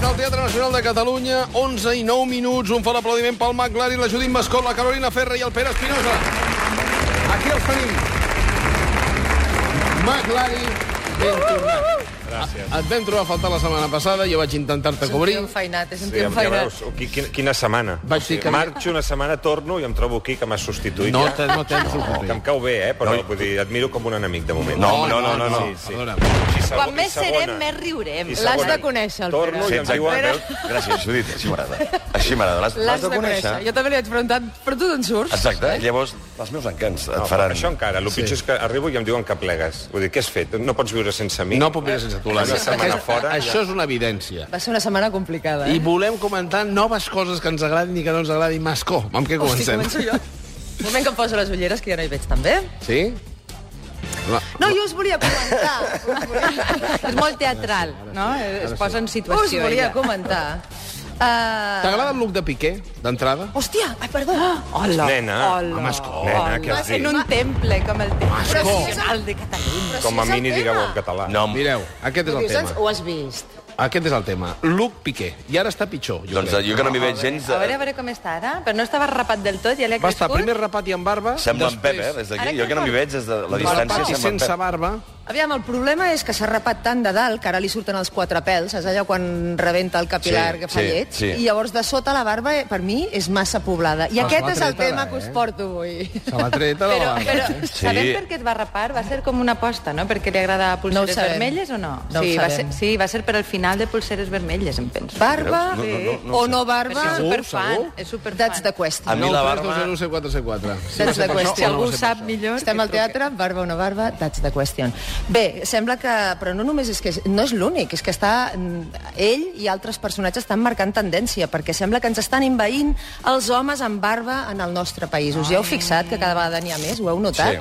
Nacional de Catalunya, 11 i 9 minuts. Un fort aplaudiment pel McLaren, la Judit Mascot, la Carolina Ferra i el Pere Espinosa. Aquí els tenim. McLaren, ben tornat. Gràcies. Et vam trobar a faltar la setmana passada, jo vaig intentar-te cobrir. Enfainat, és un Sí, tio ja, ja enfainat. veus, qui- qui- quina setmana. Vaig dir que- Marxo una setmana, torno i em trobo aquí, que m'has substituït. No, ja. te, no tens Que em no. cau bé, eh? però no. vull dir, et miro com un enemic, de moment. No, no, no, no, no. Sí, sí. Perdona. I segon- Quan i més segona. serem, més riurem. I L'has segona. de conèixer, el Pere. Torno Sí, i em diuen... Pere. Veus? Gràcies, Judit, així m'agrada. Així m'agrada. L'has L'has de conèixer. Jo també li vaig preguntar, però tu d'on surts? Exacte, llavors Eh? els meus encants et No, faran... Això encara. El pitjor és que arribo i em diuen que plegues. Vull dir, què has fet? No pots viure sense mi? No puc mirar sense tu, Una l'Anna. setmana fora, ja. Això és una evidència. Va ser una setmana complicada, I eh? volem comentar noves coses que ens agradin i que no ens agradin. Mascó, amb què Hosti, comencem? començo jo. Un moment que em poso les ulleres, que ja no hi veig tan bé. Sí? Va. No, jo us volia comentar. És molt teatral, no? Es posa en situació. Ah. Us volia ella. comentar. Uh... T'agrada el look de Piqué, d'entrada? Hòstia, ai, perdó. Hola. Nena, Hola. Mascó. Nena, què has Vas en dit? un temple, com el temple nacional de Catalunya. Com a mínim digueu en català. No, em- Mm. Mireu, aquest és el tema. Ho has vist? Aquest és el tema. Look Piqué. I ara està pitjor, jo doncs crec. jo que no m'hi veig gens... eh, A veure, a veure com està ara. Però no estava rapat del tot, ja l'he Va estar crescut. primer rapat i amb barba, Sembla en Pep, eh, després des Ara d'aquí. que Jo que no m'hi fa- veig des de la rapat i distància. Sembla sense en Pep. barba. Aviam, el problema és que s'ha rapat tant de dalt que ara li surten els quatre pèls, és allò quan rebenta el capilar Sí, que fa sí, lleig, sí. i llavors de sota la barba, eh, per mi, és massa poblada. I Ah, aquest se és l'ha el tret tema ara, que us eh? porto avui. Se l'ha tret a la Però, barba. però eh? Sí. sabem per què es va rapar? Va ser com una aposta, no? Perquè li agrada pulseres sabem. vermelles o no? No ho sí, va ser, sabem. sí, va ser per al final de pulseres vermelles, em penso. Barba No, no, no, no ho o sé. no Però si barba, Segur, és superfan, segur? és superfan. that's the question. A mi la barba- 3207474. Saps de qüestió. Si algú ho sap millor... Estem que al truqui. teatre, barba o no barba, that's the question. Bé, sembla que... Però no només és que... és- No és l'únic, és que està... mm, Ell i altres personatges estan marcant tendència, perquè sembla que ens estan envaint els homes amb barba en el nostre país. Us hi heu fixat que cada vegada n'hi ha més? Ho heu notat? Sí.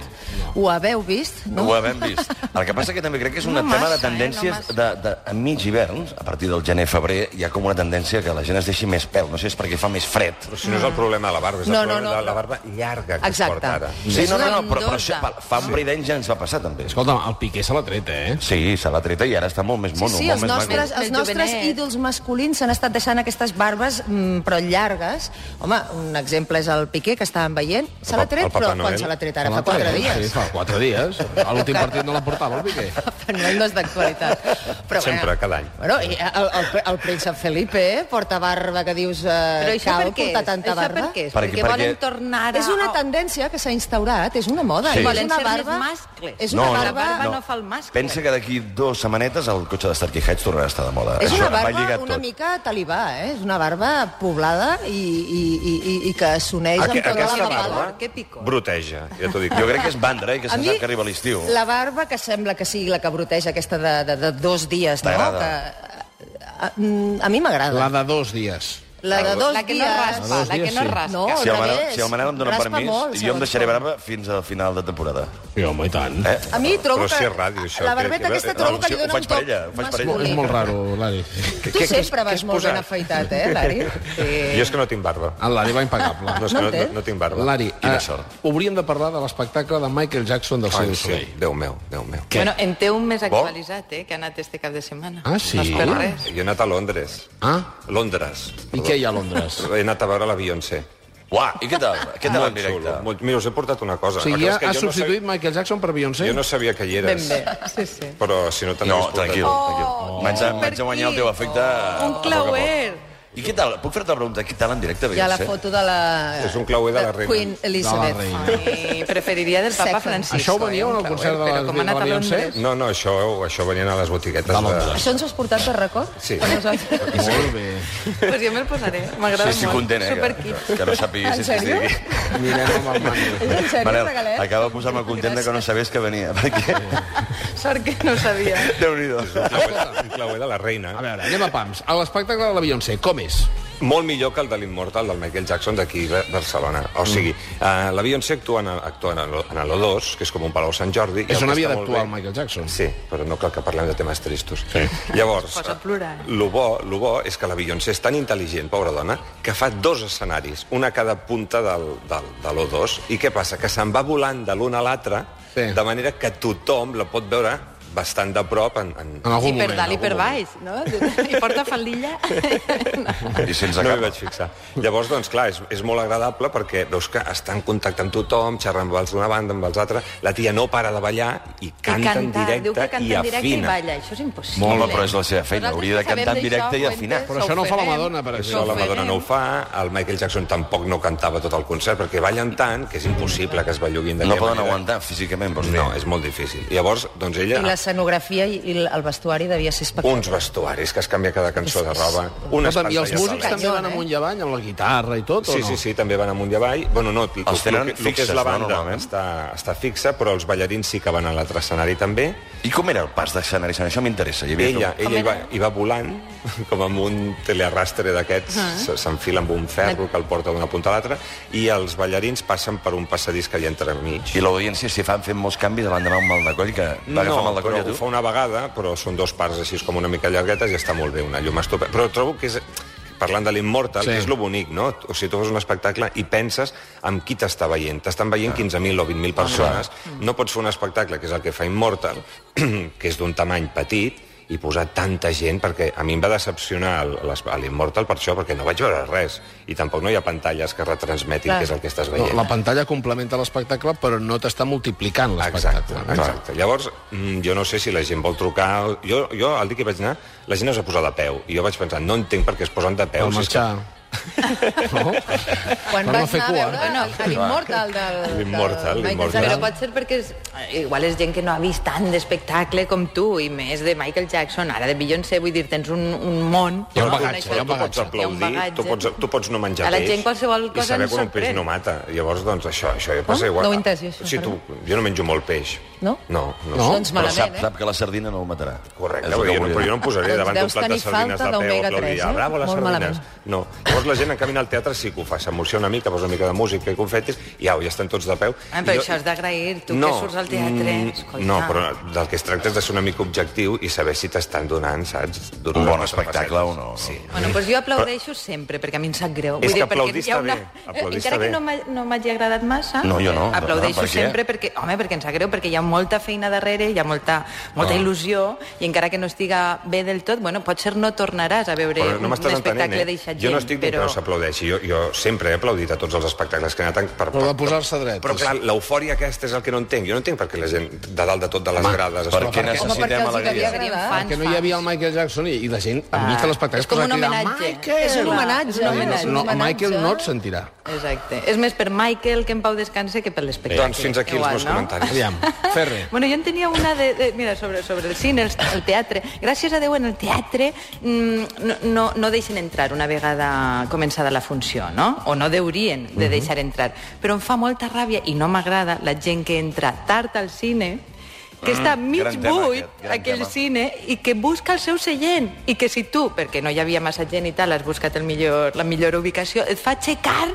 Ho haveu vist? No? Ho hem vist. El que passa que també crec que és un No tema massa, de eh, no tendències massa. de, de, a mig hivern, a partir del gener-febrer, hi ha com una tendència que la gent es deixi més pèl. No sé, és perquè fa més fred. Però si no és el problema de la barba, és el No, no, problema no, de la no. barba llarga que es Exacte. porta ara. Sí, no, no, no, però, però Grondosa. això, fa- fa un parell d'anys ja ens va passar, també. Escolta'm, el Piqué se l'ha tret, eh? Sí, se l'ha treta i ara està molt més mono, sí, sí, molt els més nostres, maco. els El nostres jovenet. ídols masculins s'han estat deixant aquestes barbes mm, però llargues. Home, un exemple és el Piqué, que estàvem veient. Se El l'ha pa- tret, el Papa però Noel. quan se l'ha tret ara? Se l'ha Fa quatre tret, dies. Sí, fa quatre dies. A l'últim partit no la portava, el Piqué. Papa Noel no és d'actualitat. Però, Sempre, bueno, cada any. Bueno, i el, el, el príncep Felipe eh, porta barba que dius... Eh, Però això cal per què portar és? tanta Això barba? per què és? Perquè- Perquè, perquè volen perquè- tornar a... És una tendència que s'ha instaurat, és una moda. eh? Sí. és Volen una ser més mascles. És una No, no, barba... la barba no fa el mascle. Pensa que d'aquí dues setmanetes el cotxe de Starkey Heights tornarà a estar de moda. És una va barba lligat una tot. mica talibà, eh? És una barba poblada i, i, i, i, i que s'uneix amb Aque- tota la aquesta barba. barba Què pico? broteja, ja t'ho dic. Jo crec que és bandra, eh, que se sap que arriba l'estiu. la barba que sembla que sigui la que broteja aquesta de, de, de dos dies, no? T'agrada? Que, eh, a, mm, a, a mi m'agrada. La de dos dies. La, de dos La que no dies... raspa, la que no raspa. No, Si al el, Manel, revés. si el Manel em dóna Raspa permís, molt, jo em segons deixaré com. barba fins al final de temporada. Sí, home, i tant. Eh? A mi trobo Però que... si és ràdio, això, la que- barbeta que- aquesta no, trobo que si li ho dona faig un per toc ella, ho faig per ella. És masculí. molt raro, l'Ari. Tu sempre vas molt ben afaitat, eh, Lari? Eh, Jo és que no tinc barba. En L'Ari va impecable. No, és No que no, en té? no, no tinc barba. L'Ari, Quina eh, sort. hauríem de parlar de l'espectacle de Michael Jackson del Cirque Ai, du sí, Soleil. Déu meu, Déu meu. Què? Bueno, en té un més actualitzat, eh, que ha anat este cap de setmana. Ah, sí? No és per Ah. res. Jo he anat a Londres. Ah, Londres. i què hi ha a Londres? He anat a veure la Beyoncé. Uah, i què tal? Què tal Molt en xulo, directe? molt- Mira, us he portat una cosa. O sigui, El ja que passa ha és que jo no substituït Michael Jackson per sabia- Beyoncé? Jo no sabia que hi eres. Ben bé, Oh! sí, sí. Però si no te No, n'hagués portat. tranquil, tranquil. M'haig de- M'haig de per guanyar el aquí. teu afecte... a Un poc a poc. clauer. I què tal? Puc fer-te una pregunta? Què tal en directe? Hi ha eh? la Beyoncé? foto de la... És un clauer de la reina. Queen Elizabeth. De la reina. Ai, preferiria del papa Second. Francisco. Això ho venia eh, en un el clauer, concert de però la- com de ha anat la a Beyoncé? Londres. No, no, això, això venien a les botiguetes. De Londres. Això ens ho has portat per record? Sí. Per nosaltres? Molt bé. Pues jo me'l posaré, Sí, m'agrada molt. estic content, eh, que, Superquip. que, que no sàpigues En si estic sèrio? aquí. Mirem amb el Manu. És en sèrio, Manel, regalet? acaba de posar-me content de que no sabies que venia, perquè... Sort que no sabia. Déu-n'hi-do. Un clauer de la reina. A veure, anem a pams. A l'espectacle de la Beyoncé, com és? Molt millor que el de l'Immortal del Michael Jackson d'aquí a Barcelona. O sigui, eh, la Beyoncé actua, en, actua en, el- en l'O2, que és com un Palau Sant Jordi. i És el on que havia està molt d'actuar bé- el Michael Jackson. Sí, però no cal que parlem de temes tristos. Sí. Llavors, posa a plorar. eh, lo bo, lo bo és que la Beyoncé és tan intel·ligent, pobra dona, que fa dos escenaris, una a cada punta del, del, de l'O2, i què passa? Que se'n va volant de l'un a l'altre, Sí. sí. de manera que tothom la pot veure bastant de prop en... en... En algun I per moment. dalt i en per algun moment. baix, no? I porta faldilla. I sense No cap. m'hi vaig fixar. Llavors, doncs, clar, és, és molt agradable perquè veus que està en contacte amb tothom, xerra amb els d'una banda, amb els altres, la tia no para de ballar i canta, en directe diu que canta i en directe i afina. balla. Això és impossible. Molt, però és la seva feina. Nosaltres Hauria de que sabem cantar en d'això, directe i Fuentes, afinar. Però això no ho fa la farem. Madonna, per Això la Madonna no ho fa, el Michael Jackson tampoc no cantava tot el concert, perquè ballen tant que és impossible que es belluguin No d'aquella poden manera. aguantar físicament, vols dir. No, és molt difícil. Llavors, doncs ella... I l'escenografia i i el vestuari devia ser espectacular. Uns vestuaris que es canvia cada cançó de roba. Unes Escolta'm, I els pantalles músics de també van amunt i avall amb la guitarra i tot, Sí, o no? sí, sí, també van amunt i avall. Bueno, no, el, el, que- el que tenen és fixes, la no, banda normalment? està, està fixa, però els ballarins sí que van a l'altre escenari també. I com era el pas d'escenari? Això m'interessa. Hi havia Ella, com- ella hi, va, hi va volant, com amb un telearrastre d'aquests, Ah. se- s'enfila amb un ferro que el porta d'una punta a l'altra, i els ballarins passen per un passadís que hi ha entremig. I l'audiència s'hi fan fent molts canvis l'endemà un mal de coll que va agafar mal de coll però a ho tu. fa una vegada, però són dos parts així com una mica llarguetes i està molt bé, una llum estupenda. Però trobo que és parlant de l'Immortal, Sí. sí. és lo bonic, no? O sigui, tu fas un espectacle i penses amb qui t'està veient. T'estan veient 15.000 o 20.000 persones. No pots fer un espectacle, que és el que fa Immortal, que és d'un tamany petit, i posar tanta gent, perquè a mi em va decepcionar el- les- a l'Immortal per això, perquè no vaig veure res, i tampoc no hi ha pantalles que retransmetin Clar. què és el que estàs No, veient. la pantalla complementa l'espectacle, però no t'està multiplicant l'espectacle. eh? Exacte, exacte. Llavors, mm, jo no sé si la gent vol trucar... Jo, jo el dia que hi vaig anar, la gent es va posar de peu. I jo vaig pensar, no entenc per què es posen de peu. Per si és marxar... No? Per Quan no vas fer anar a cua. eh? Ah, veure Bueno, a l'Immortal del... del L'Immortal, Michael l'Immortal. Jackson. Però pot ser perquè és, igual és gent que no ha vist tant d'espectacle com tu, i més de Michael Jackson. Ara de Beyoncé, vull dir, tens un, un món. Hi ha un No? bagatge, Coneixes- hi ha un Tu pots bagatge. Hi ha un aplaudir, tu pots, tu pots no menjar A la peix, gent qualsevol i cosa saber ens que un peix sorprèn. no mata. Llavors, doncs, això, això jo passa Ah, igual. no ho he entès, jo, això, o sigui, tu, jo no menjo molt peix. No? No, no. No? Doncs Però malament, sap, sap que la sardina no el matarà. Correcte, És el vull que dir, volia però dir. jo no em posaré Doncs davant d'un deus plat de tenir sardines falta de peu d'omega a aplaudir. tres, Ah, eh? bravo, les Molt sardines. malament. No. Llavors la gent, en canvi, al teatre sí que ho fa. S'emociona una mica, posa una mica de música i confetis, i au, ja estan tots de peu. Ah, I però jo- això has d'agrair, tu que surts al teatre. mm, Escolta. No, però del que es tracta és de ser una mica objectiu i saber si t'estan donant, saps? Donar Un bon una espectacle faceta. o no. Sí. Bueno, doncs jo aplaudeixo sempre, perquè a mi em sap greu. És que perquè aplaudir hi ha està bé, aplaudir Encara està que bé. no m'ha- no m'hagi agradat massa, No, jo no. aplaudeixo Per què? sempre perquè, home, perquè em sap greu, perquè hi ha molta feina darrere, hi ha molta, molta il·lusió, i encara que no estiga bé del tot, bueno, potser no tornaràs a veure Però no un m'estàs entenent, espectacle eh? d'eixa gent. Jo no estic dient però... que no s'aplaudeixi. Jo, jo sempre he aplaudit a tots els espectacles que he anat en- per, Però de posar-se dret. Però clar, l'eufòria aquesta és el que no entenc. Jo no entenc per què la gent de dalt de tot de les grades... es Per fa- què perquè- Home, perquè necessitem els hi devia alegria? Serien agradar. fans, que no hi havia el fans. Michael Jackson i, i la gent Ah. enmig de l'espectacle és com es posava un a cridar, homenatge. Michael! És un homenatge, No, és un homenatge. no, no, Michael no et sentirà. Exacte. És més per Michael que en Pau descanse que per l'espectacle. Doncs fins aquí els Igual, meus no? comentaris. Aviam, Ferre. Bueno, jo en tenia una de, de mira, sobre, sobre el cine, el, el teatre. Gràcies a Déu, en el teatre mm, no, no, no deixen entrar una vegada començada la funció, no? O no deurien de Mhm. deixar entrar. Però em fa molta ràbia i no m'agrada la gent que entra tard al cine que està mig Mm, gran tema buit, aquest, gran aquell tema. cine, i que busca el seu seient. I que si tu, perquè no hi havia massa gent i tal, has buscat el millor, la millor ubicació, et fa aixecar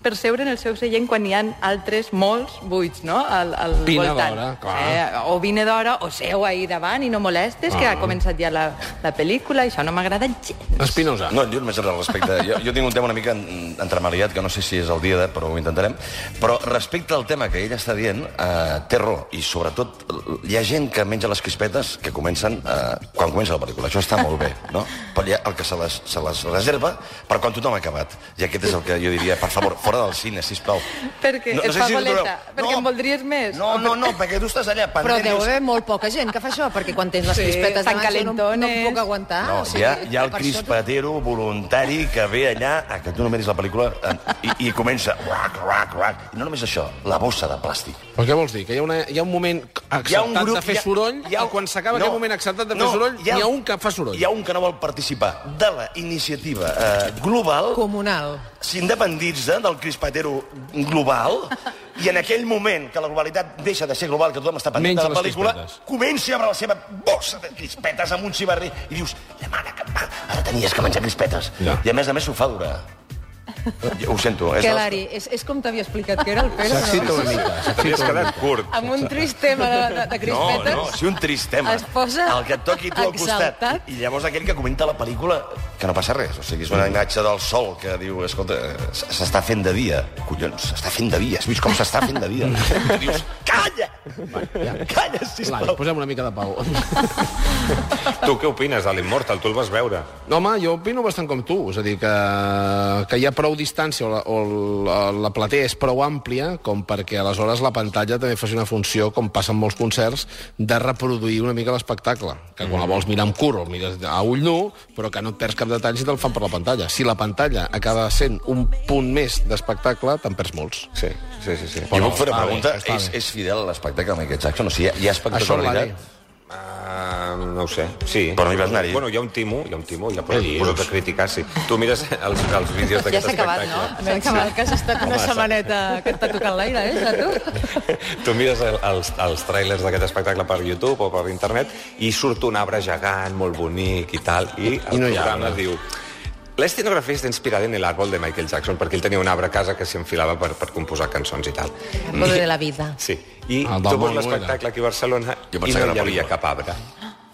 per seure en el seu seient quan hi ha altres molts buits, no?, al, al Pina voltant. d'hora, clar. Eh, o vine d'hora, o seu ahir davant i no molestes, que Ah. ha començat ja la, la pel·lícula, i això no m'agrada gens. Espinosa. No, jo només al respecte... Jo, jo tinc un tema una mica en- entremaliat, que no sé si és el dia de, però ho intentarem. Però respecte al tema que ella està dient, eh, té raó. I sobretot, l- hi ha gent que menja les crispetes que comencen eh, quan comença la pel·lícula. Això està molt bé, no? Però hi ha el que se les, se les reserva per quan tothom ha acabat. I aquest és el que jo diria, per favor, fora del cine, sisplau. Perquè et fa ho boleta, trobeu. perquè en voldries més. No, no, no, perquè tu estàs allà pendent... Però i deu dius, haver molt poca gent que fa això, perquè quan tens les Sí, crispetes tan davant jo no, no em calentones. puc aguantar. No, Ah, o sigui, hi ha, hi ha el per crispatero voluntari que ve allà a que tu no miris la pel·lícula eh, i, i comença... Rac, rac, rac. I no només això, la bossa de plàstic. Però què vols dir? Que hi ha, una, hi ha un moment acceptat de fer hi ha- soroll hi ha- i quan s'acaba no, aquell moment acceptat de fer no, soroll n'hi ha, un que fa soroll. Hi ha un que no vol participar de la iniciativa eh, global, Això... Comunal. s'independitza del crispatero global i en aquell moment que la globalitat deixa de ser global, que tothom està pendent Menja de la les pel·lícula, crispetes. comença a obre la seva bossa de crispetes amb un xivarri i dius, la mare que em va, ara tenies que menjar crispetes. Ja. I a més a més s'ho fa durar. Jo Ho sento. És Que, la- Lari, és, és com t'havia explicat que era el Pere, S'excita no? una mica. T'havies s'excita una quedat curt. Amb un trist tema de, de, de No, crispetes. no, si un trist tema. Es posa El que et toqui tu al costat. exaltat. I llavors aquell que comenta la pel·lícula, que no passa res. O sigui, és una imatge del sol que diu, escolta, eh, s- s'està fent de dia. Collons, s'està fent de dia. Has vist com s'està fent de dia? I dius, calla! Bueno, ja. Calla, Lai, sisplau. posem una mica de pau. Tu què opines de l'Immortal? Tu el vas veure. No, home, jo opino bastant com tu, és a dir, que, que hi ha prou distància o la, o la, la platea és prou àmplia com perquè aleshores la pantalla també faci una funció, com passa en molts concerts, de reproduir una mica l'espectacle, que quan la vols mirar amb cura, el mires a ull nu, però que no et perds cap detall si te'l fan per la pantalla. Si la pantalla acaba sent un punt més d'espectacle, te'n perds molts. Sí, sí, sí. sí. Jo puc fer està una bé, pregunta. està és, bé. és fidel a l'espectacle amb aquest Jackson? O sigui, hi ha, hi ha Això l'Ari. espectacularitat? Ah, no ho sé, sí. Però no hi vas anar-hi. Bueno, hi ha un timo, hi ha un timo, ja posa, dius? posa't a criticar, sí. Tu mires els, els vídeos Ja d'aquest s'ha acabat, espectacle. no? S'ha acabat, que has estat una setmaneta que et t'ha tocat l'aire, eh, a tu? Tu mires el, els, els trailers d'aquest espectacle per YouTube o per internet i surt un arbre gegant, molt bonic i tal, i el I no hi ha programa arbre. diu... La escenografía está inspirada en el árbol de Michael Jackson, perquè ell tenia un arbre a casa que s'enfilava per, per composar cançons i tal. Mm. Árbol de la vida. Sí. I Ah, tu del vols Mono era. l'espectacle aquí a Barcelona Jo i pensava que no era hi havia pel·lícula. cap arbre.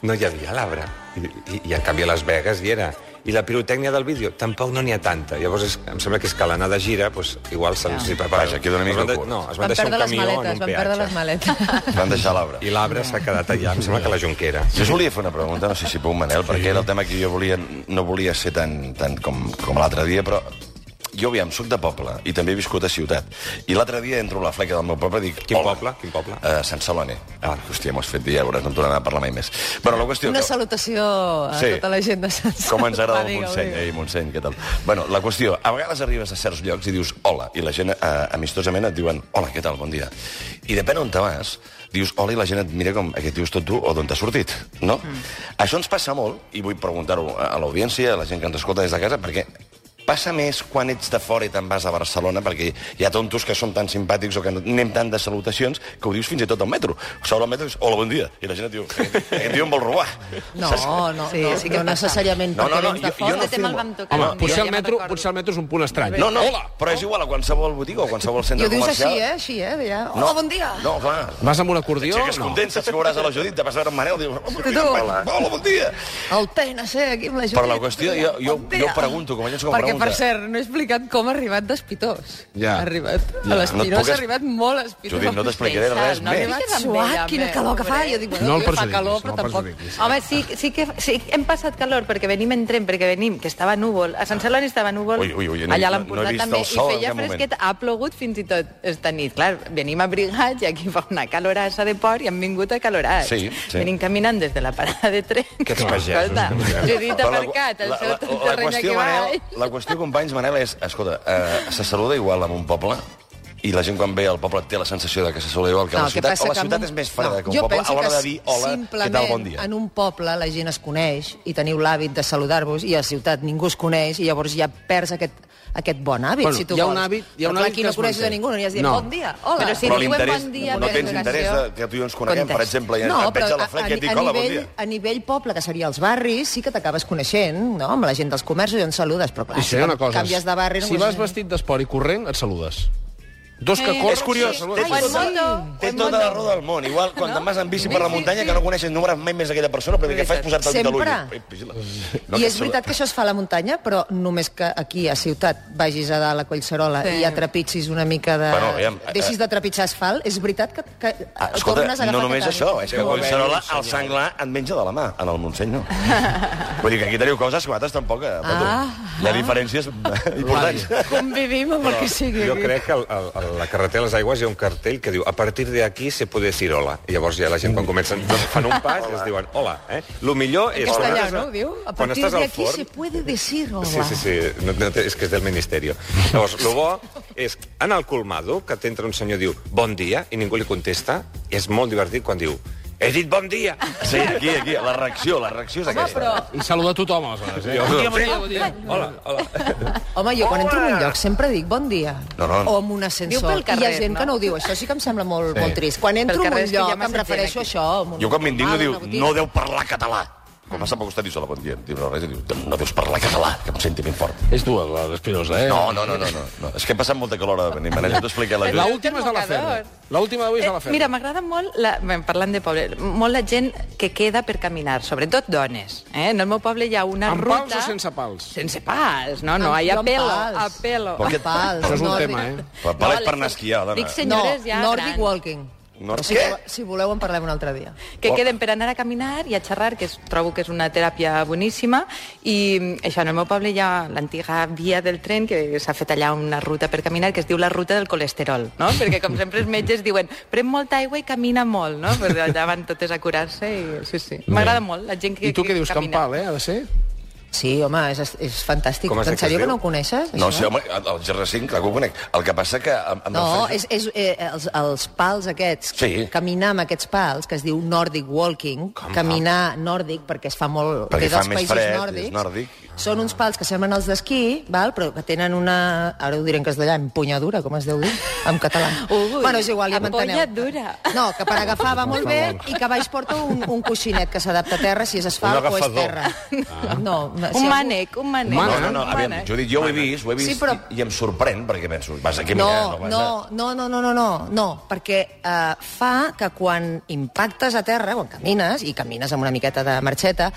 No hi havia l'arbre. I, i, I en canvi a Las Vegas hi era. I la pirotècnia del vídeo tampoc no n'hi ha tanta. Llavors és, em sembla que és que a l'anar de gira doncs, igual se'ls... hi prepara. Vaja, queda una mica Es van de- curt. No, es van, Van deixar perdre un les camió en maletes, un van peatge. perdre les maletes. Van deixar l'arbre. I l'arbre s'ha quedat allà, em sembla que a la Jonquera. Jo us volia fer una pregunta, no sé si puc, Manel, perquè era el tema que jo volia, no volia ser tan, tan com, com l'altre dia, però jo, aviam, soc de poble i també he viscut a ciutat. I l'altre dia entro a la fleca del meu poble i dic... Quin "Hola". poble? Quin poble? Eh, Sant Celoni. Ah, hòstia, m'ho has fet dir, ja veuràs, no em tornarà a parlar mai més. Però la qüestió... Una que- salutació a Sí. tota la gent de Sant Com ens agrada Va, el digue-ho, Montseny. digue-ho. Ei, Montseny, què tal? Bueno, la qüestió, a vegades arribes a certs llocs i dius hola, i la gent eh, amistosament et diuen hola, què tal, bon dia. I depèn on te vas, dius hola i la gent et mira com aquest dius tot tu o d'on t'ha sortit, no? Això ens passa molt, i vull preguntar-ho a a l'audiència, a la gent que ens escolta des de casa, perquè passa més quan ets de fora i te'n vas a Barcelona, perquè hi ha tontos que són tan simpàtics o que no- anem tant de salutacions que ho dius fins i tot al metro. Sobre el metro dius, hola, bon dia, i la gent et diu, aquest tio em vol robar. No, eh? Saps? no, Sí, no, sí sí que no passa. necessàriament No, perquè no, no, vens de jo- jo fora. no Este tema el afirmo. vam tocar. Home, un dia, potser ja el, me'n metro, recordo. potser el metro és un punt estrany. No, no, Hola! però és igual a qualsevol botiga o a qualsevol I centre ho dius així, comercial. eh? Així, eh? Ja. No. Hola, bon dia! No, clar. Vas amb un acordió? Si és content, saps que veuràs a la Judit, te vas a veure en Manel, dius... tu. Hola, hola, bon dia! El TNC aquí amb la Judit. Però la qüestió, jo, jo, Bon dia. jo pregunto, com a gent s'ho Perquè, pregunta... per cert, no he explicat com ha arribat d'Espitós. Ja. Ha arribat Ja. a No et l'Espinós, puc es- ha arribat molt a Espitós. Judit, no t'explicaré res No, més. no, Arribat Suat, amb quina ella, calor que fa. hombre. Jo dic, No bueno, el tio, fa perjudiquis, calor, no però el tampoc... perjudiquis. Home, sí, sí que sí, que hem passat calor perquè venim en tren, perquè venim, que estava núvol, a Sant Celoni estava núvol, Ui, ui, ui, no he- allà no a l'Empordà he vist també, el sol en i feia cap moment. fresquet, ha plogut fins i tot esta nit. Clar, venim abrigats i aquí fa una calorassa de port i hem vingut a calorats. Sí, sí. Venim caminant des de la parada de tren. Que ets pagesos, Escolta, Judit ha Però la- marcat el la- seu la- la terreny qüestió, aquí Manel, baix. La qüestió, companys, Manel, és... Escolta, eh, se saluda igual en un poble? I la gent quan ve al poble té la sensació de que se saluda igual que a No, la el que ciutat? passa o la que en ciutat un- és més freda No, que un jo poble penso a l'hora que de dir hola, què tal, simplement bon dia? en un poble la gent es coneix i teniu l'hàbit de saludar-vos i a la ciutat ningú es coneix i llavors ja perds aquest, aquest bon hàbit, Bueno, si tu hi ha vols. un hàbit- hi ha un Però clar, hàbit aquí que no es coneixes a manté. ningú, no n'hi has dit, No. bon dia, hola. Però si Però diuen l'interès... bon dia, no per tens educació. interès de, que tu i jo ens coneguem, per Contesta. exemple, i et veig a la fleca i et dic hola, bon nivell, dia. a nivell poble, que seria els barris, sí que t'acabes coneixent, no?, amb la gent dels comerços i en saludes, però clar, I si sé una cosa. canvies de barri... si vas vestit d'esport i corrent, et saludes. Dos que Eh, corren... És curiós. sí, saludes. O en moto, o Té en tota moto. la roda del món. Igual, quan te'n vas en bici per la muntanya, que no coneixes, no veuràs mai més aquella persona, però que fas posar-te el dit a l'ull. Sempre. Ei, vigila. No, I és veritat que això es fa a la muntanya, però només que aquí, a ciutat, vagis a dalt a Collserola Sí. sí. i atrepitsis una mica de... Bueno, aviam, eh, deixis de trepitjar asfalt, és veritat que, que ah, Ah, escolta, tornes a agafar no només aquest això, hàbit. és que quan Cerola, el senglar et menja de la mà, en el Montseny no. Vull dir que aquí teniu coses que vosaltres tampoc. Eh, ah, Hi ha diferències Ah. importants. Convivim amb el que sigui. Jo crec que a la carretera de les Aigües hi ha un cartell que diu a partir d'aquí se puede decir hola. I llavors ja la gent quan comencen doncs, fan un pas i es diuen hola. Eh? Lo millor és... En castellà, quan estàs a- no? Diu, "A quan Des estàs al d'aquí se forn... puede decir hola. Sí, sí, sí, no, no, té- és que és del ministerio. Llavors, el bo és anar al colmado, que t'entra un senyor i diu bon dia, i ningú li contesta, i és molt divertit quan diu he dit bon dia. Sí, aquí, aquí, la reacció, la reacció és aquesta. Però I saluda tothom, aleshores. Eh? Bon dia, bon dia, bon dia. Hola, hola. Home, jo quan entro en un lloc sempre dic bon dia. No, no. O en un ascensor. Diu pel I hi carrer, ha gent que no? no ho diu. Això sí que em sembla molt, molt trist. Quan entro Pel en un carrer és que ja lloc m'ha em sentit refereixò a aquí. això. en un Jo quan m'indigno local, diu, en una botiga. no deu parlar català. Quan vas a costat dius, hola, bon dia. Diu, res, i diu, no deus parlar català, que em senti ben fort. És tu, la d'Espinosa, eh? No, no, no, no, no, no. És que he passat molta calor a venir, Manel, ja t'ho expliqué a la La Judit. última és de la Ferri. Mocador. La última d'avui és de la Eh, Ferri. Mira, m'agrada molt, la, bé, parlant de poble, molt la gent que queda per caminar, sobretot dones. Eh? En el meu poble hi ha una Amb ruta... pals o sense pals? Sense pals, no, no, Amb- hi ha amb pelo, pals. a pelo. Però què- Amb pals, Això és un nòrdic. tema, eh? Per, per, per anar a esquiar, dona. Dic senyores no, ja Nordic grans. walking. No, Però si, què? voleu- si voleu en parlem un altre dia. que queden per anar a caminar i a xerrar, que es, trobo que és una teràpia boníssima, i mm, això, en el meu poble hi ha l'antiga via del tren, que s'ha fet allà una ruta per caminar, que es diu la ruta del colesterol, no? Perquè, com sempre, els metges diuen, pren molta aigua i camina molt, no? Perquè allà van totes a curar-se i... Sí, sí. M'agrada molt la gent que I tu què dius, camina. Campal, eh, ha de ser? Sí, home, és, és fantàstic. Com es diu En que es sèrio que diu? no ho coneixes? No, això? sí, home, el el Gerard 5, clar que ho conec. El que passa que... Amb, amb el No, Fred- és, és eh, els, els pals aquests, Sí. caminar amb aquests pals, que es diu Nordic Walking, Com? caminar nòrdic, perquè es fa molt... Perquè ve dels fa més països fred, és nòrdics, nòrdic. Són uns pals que semblen els d'esquí, val? però que tenen una... Ara ho diré en castellà, empunyadura, com es deu dir, en català. Ui, bueno, és igual, ja m'enteneu. empunyadura. No, que per agafar va molt bé i que a baix porta un, un coixinet que s'adapta a terra, si és asfalt o és agafador. terra. Ah. No, si Un algú- mànec, un mànec. No, Mana, no, no, aviam, jo dic, jo ho he vist, ho he vist, eh? Sí, però- i, i em sorprèn, perquè penso, vas a caminar, No, no, vas no, no, no, no, no, no, no, perquè eh, fa que quan impactes a terra, quan camines, i camines amb una miqueta de marxeta,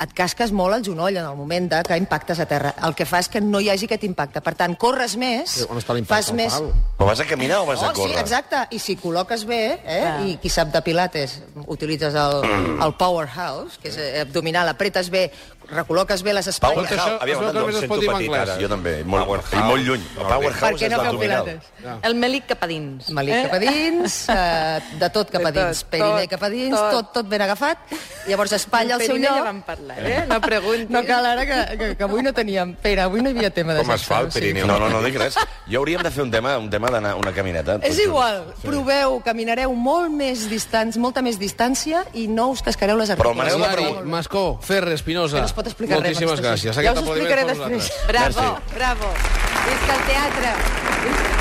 et casques molt el genoll en el moment de que impactes a terra. El que fa és que no hi hagi aquest impacte. Per tant, corres més, Sí, on està l'impacte, fas al més... pal? a... Però vas a caminar o vas a Oh, sí, córrer? exacte. I si col·loques bé, eh? Clar. i qui sap de pilates, utilitzes el, el powerhouse, que és eh, abdominal, apretes bé, recol·loques bé les Power espatlles... Tot això- House, aviam, es veu que em només es sento pot dir en petit anglès. ara. Jo també, i molt, Power i House. molt lluny. El Power Per House què és no feu l'abdominal. pilates? El melic cap a dins. Melic cap a dins, eh, de tot cap a De tot, dins, periner tot, cap a dins, tot. tot, tot ben agafat. Llavors espatlla al seu Perina lloc. Ja vam parlar, eh? No preguntis. No cal, ara que, que, que avui no teníem... Pere, avui no hi havia tema de Com es fa el Pirineu? No, no, no dic res. Jo hauríem de fer un tema, un tema d'anar una caminata. Doncs És igual, proveu, caminareu molt més distants, molta més distància i no us cascareu les Però articles. el Manel va Solari, preguntar- Mascó, Ferrer, Espinosa, No es pot explicar res, moltíssimes Anastasia. gràcies. Ja us Aquest ho aplaudiment explicaré per vosaltres. després. Bravo, Merci. bravo. Visca el teatre. Visca...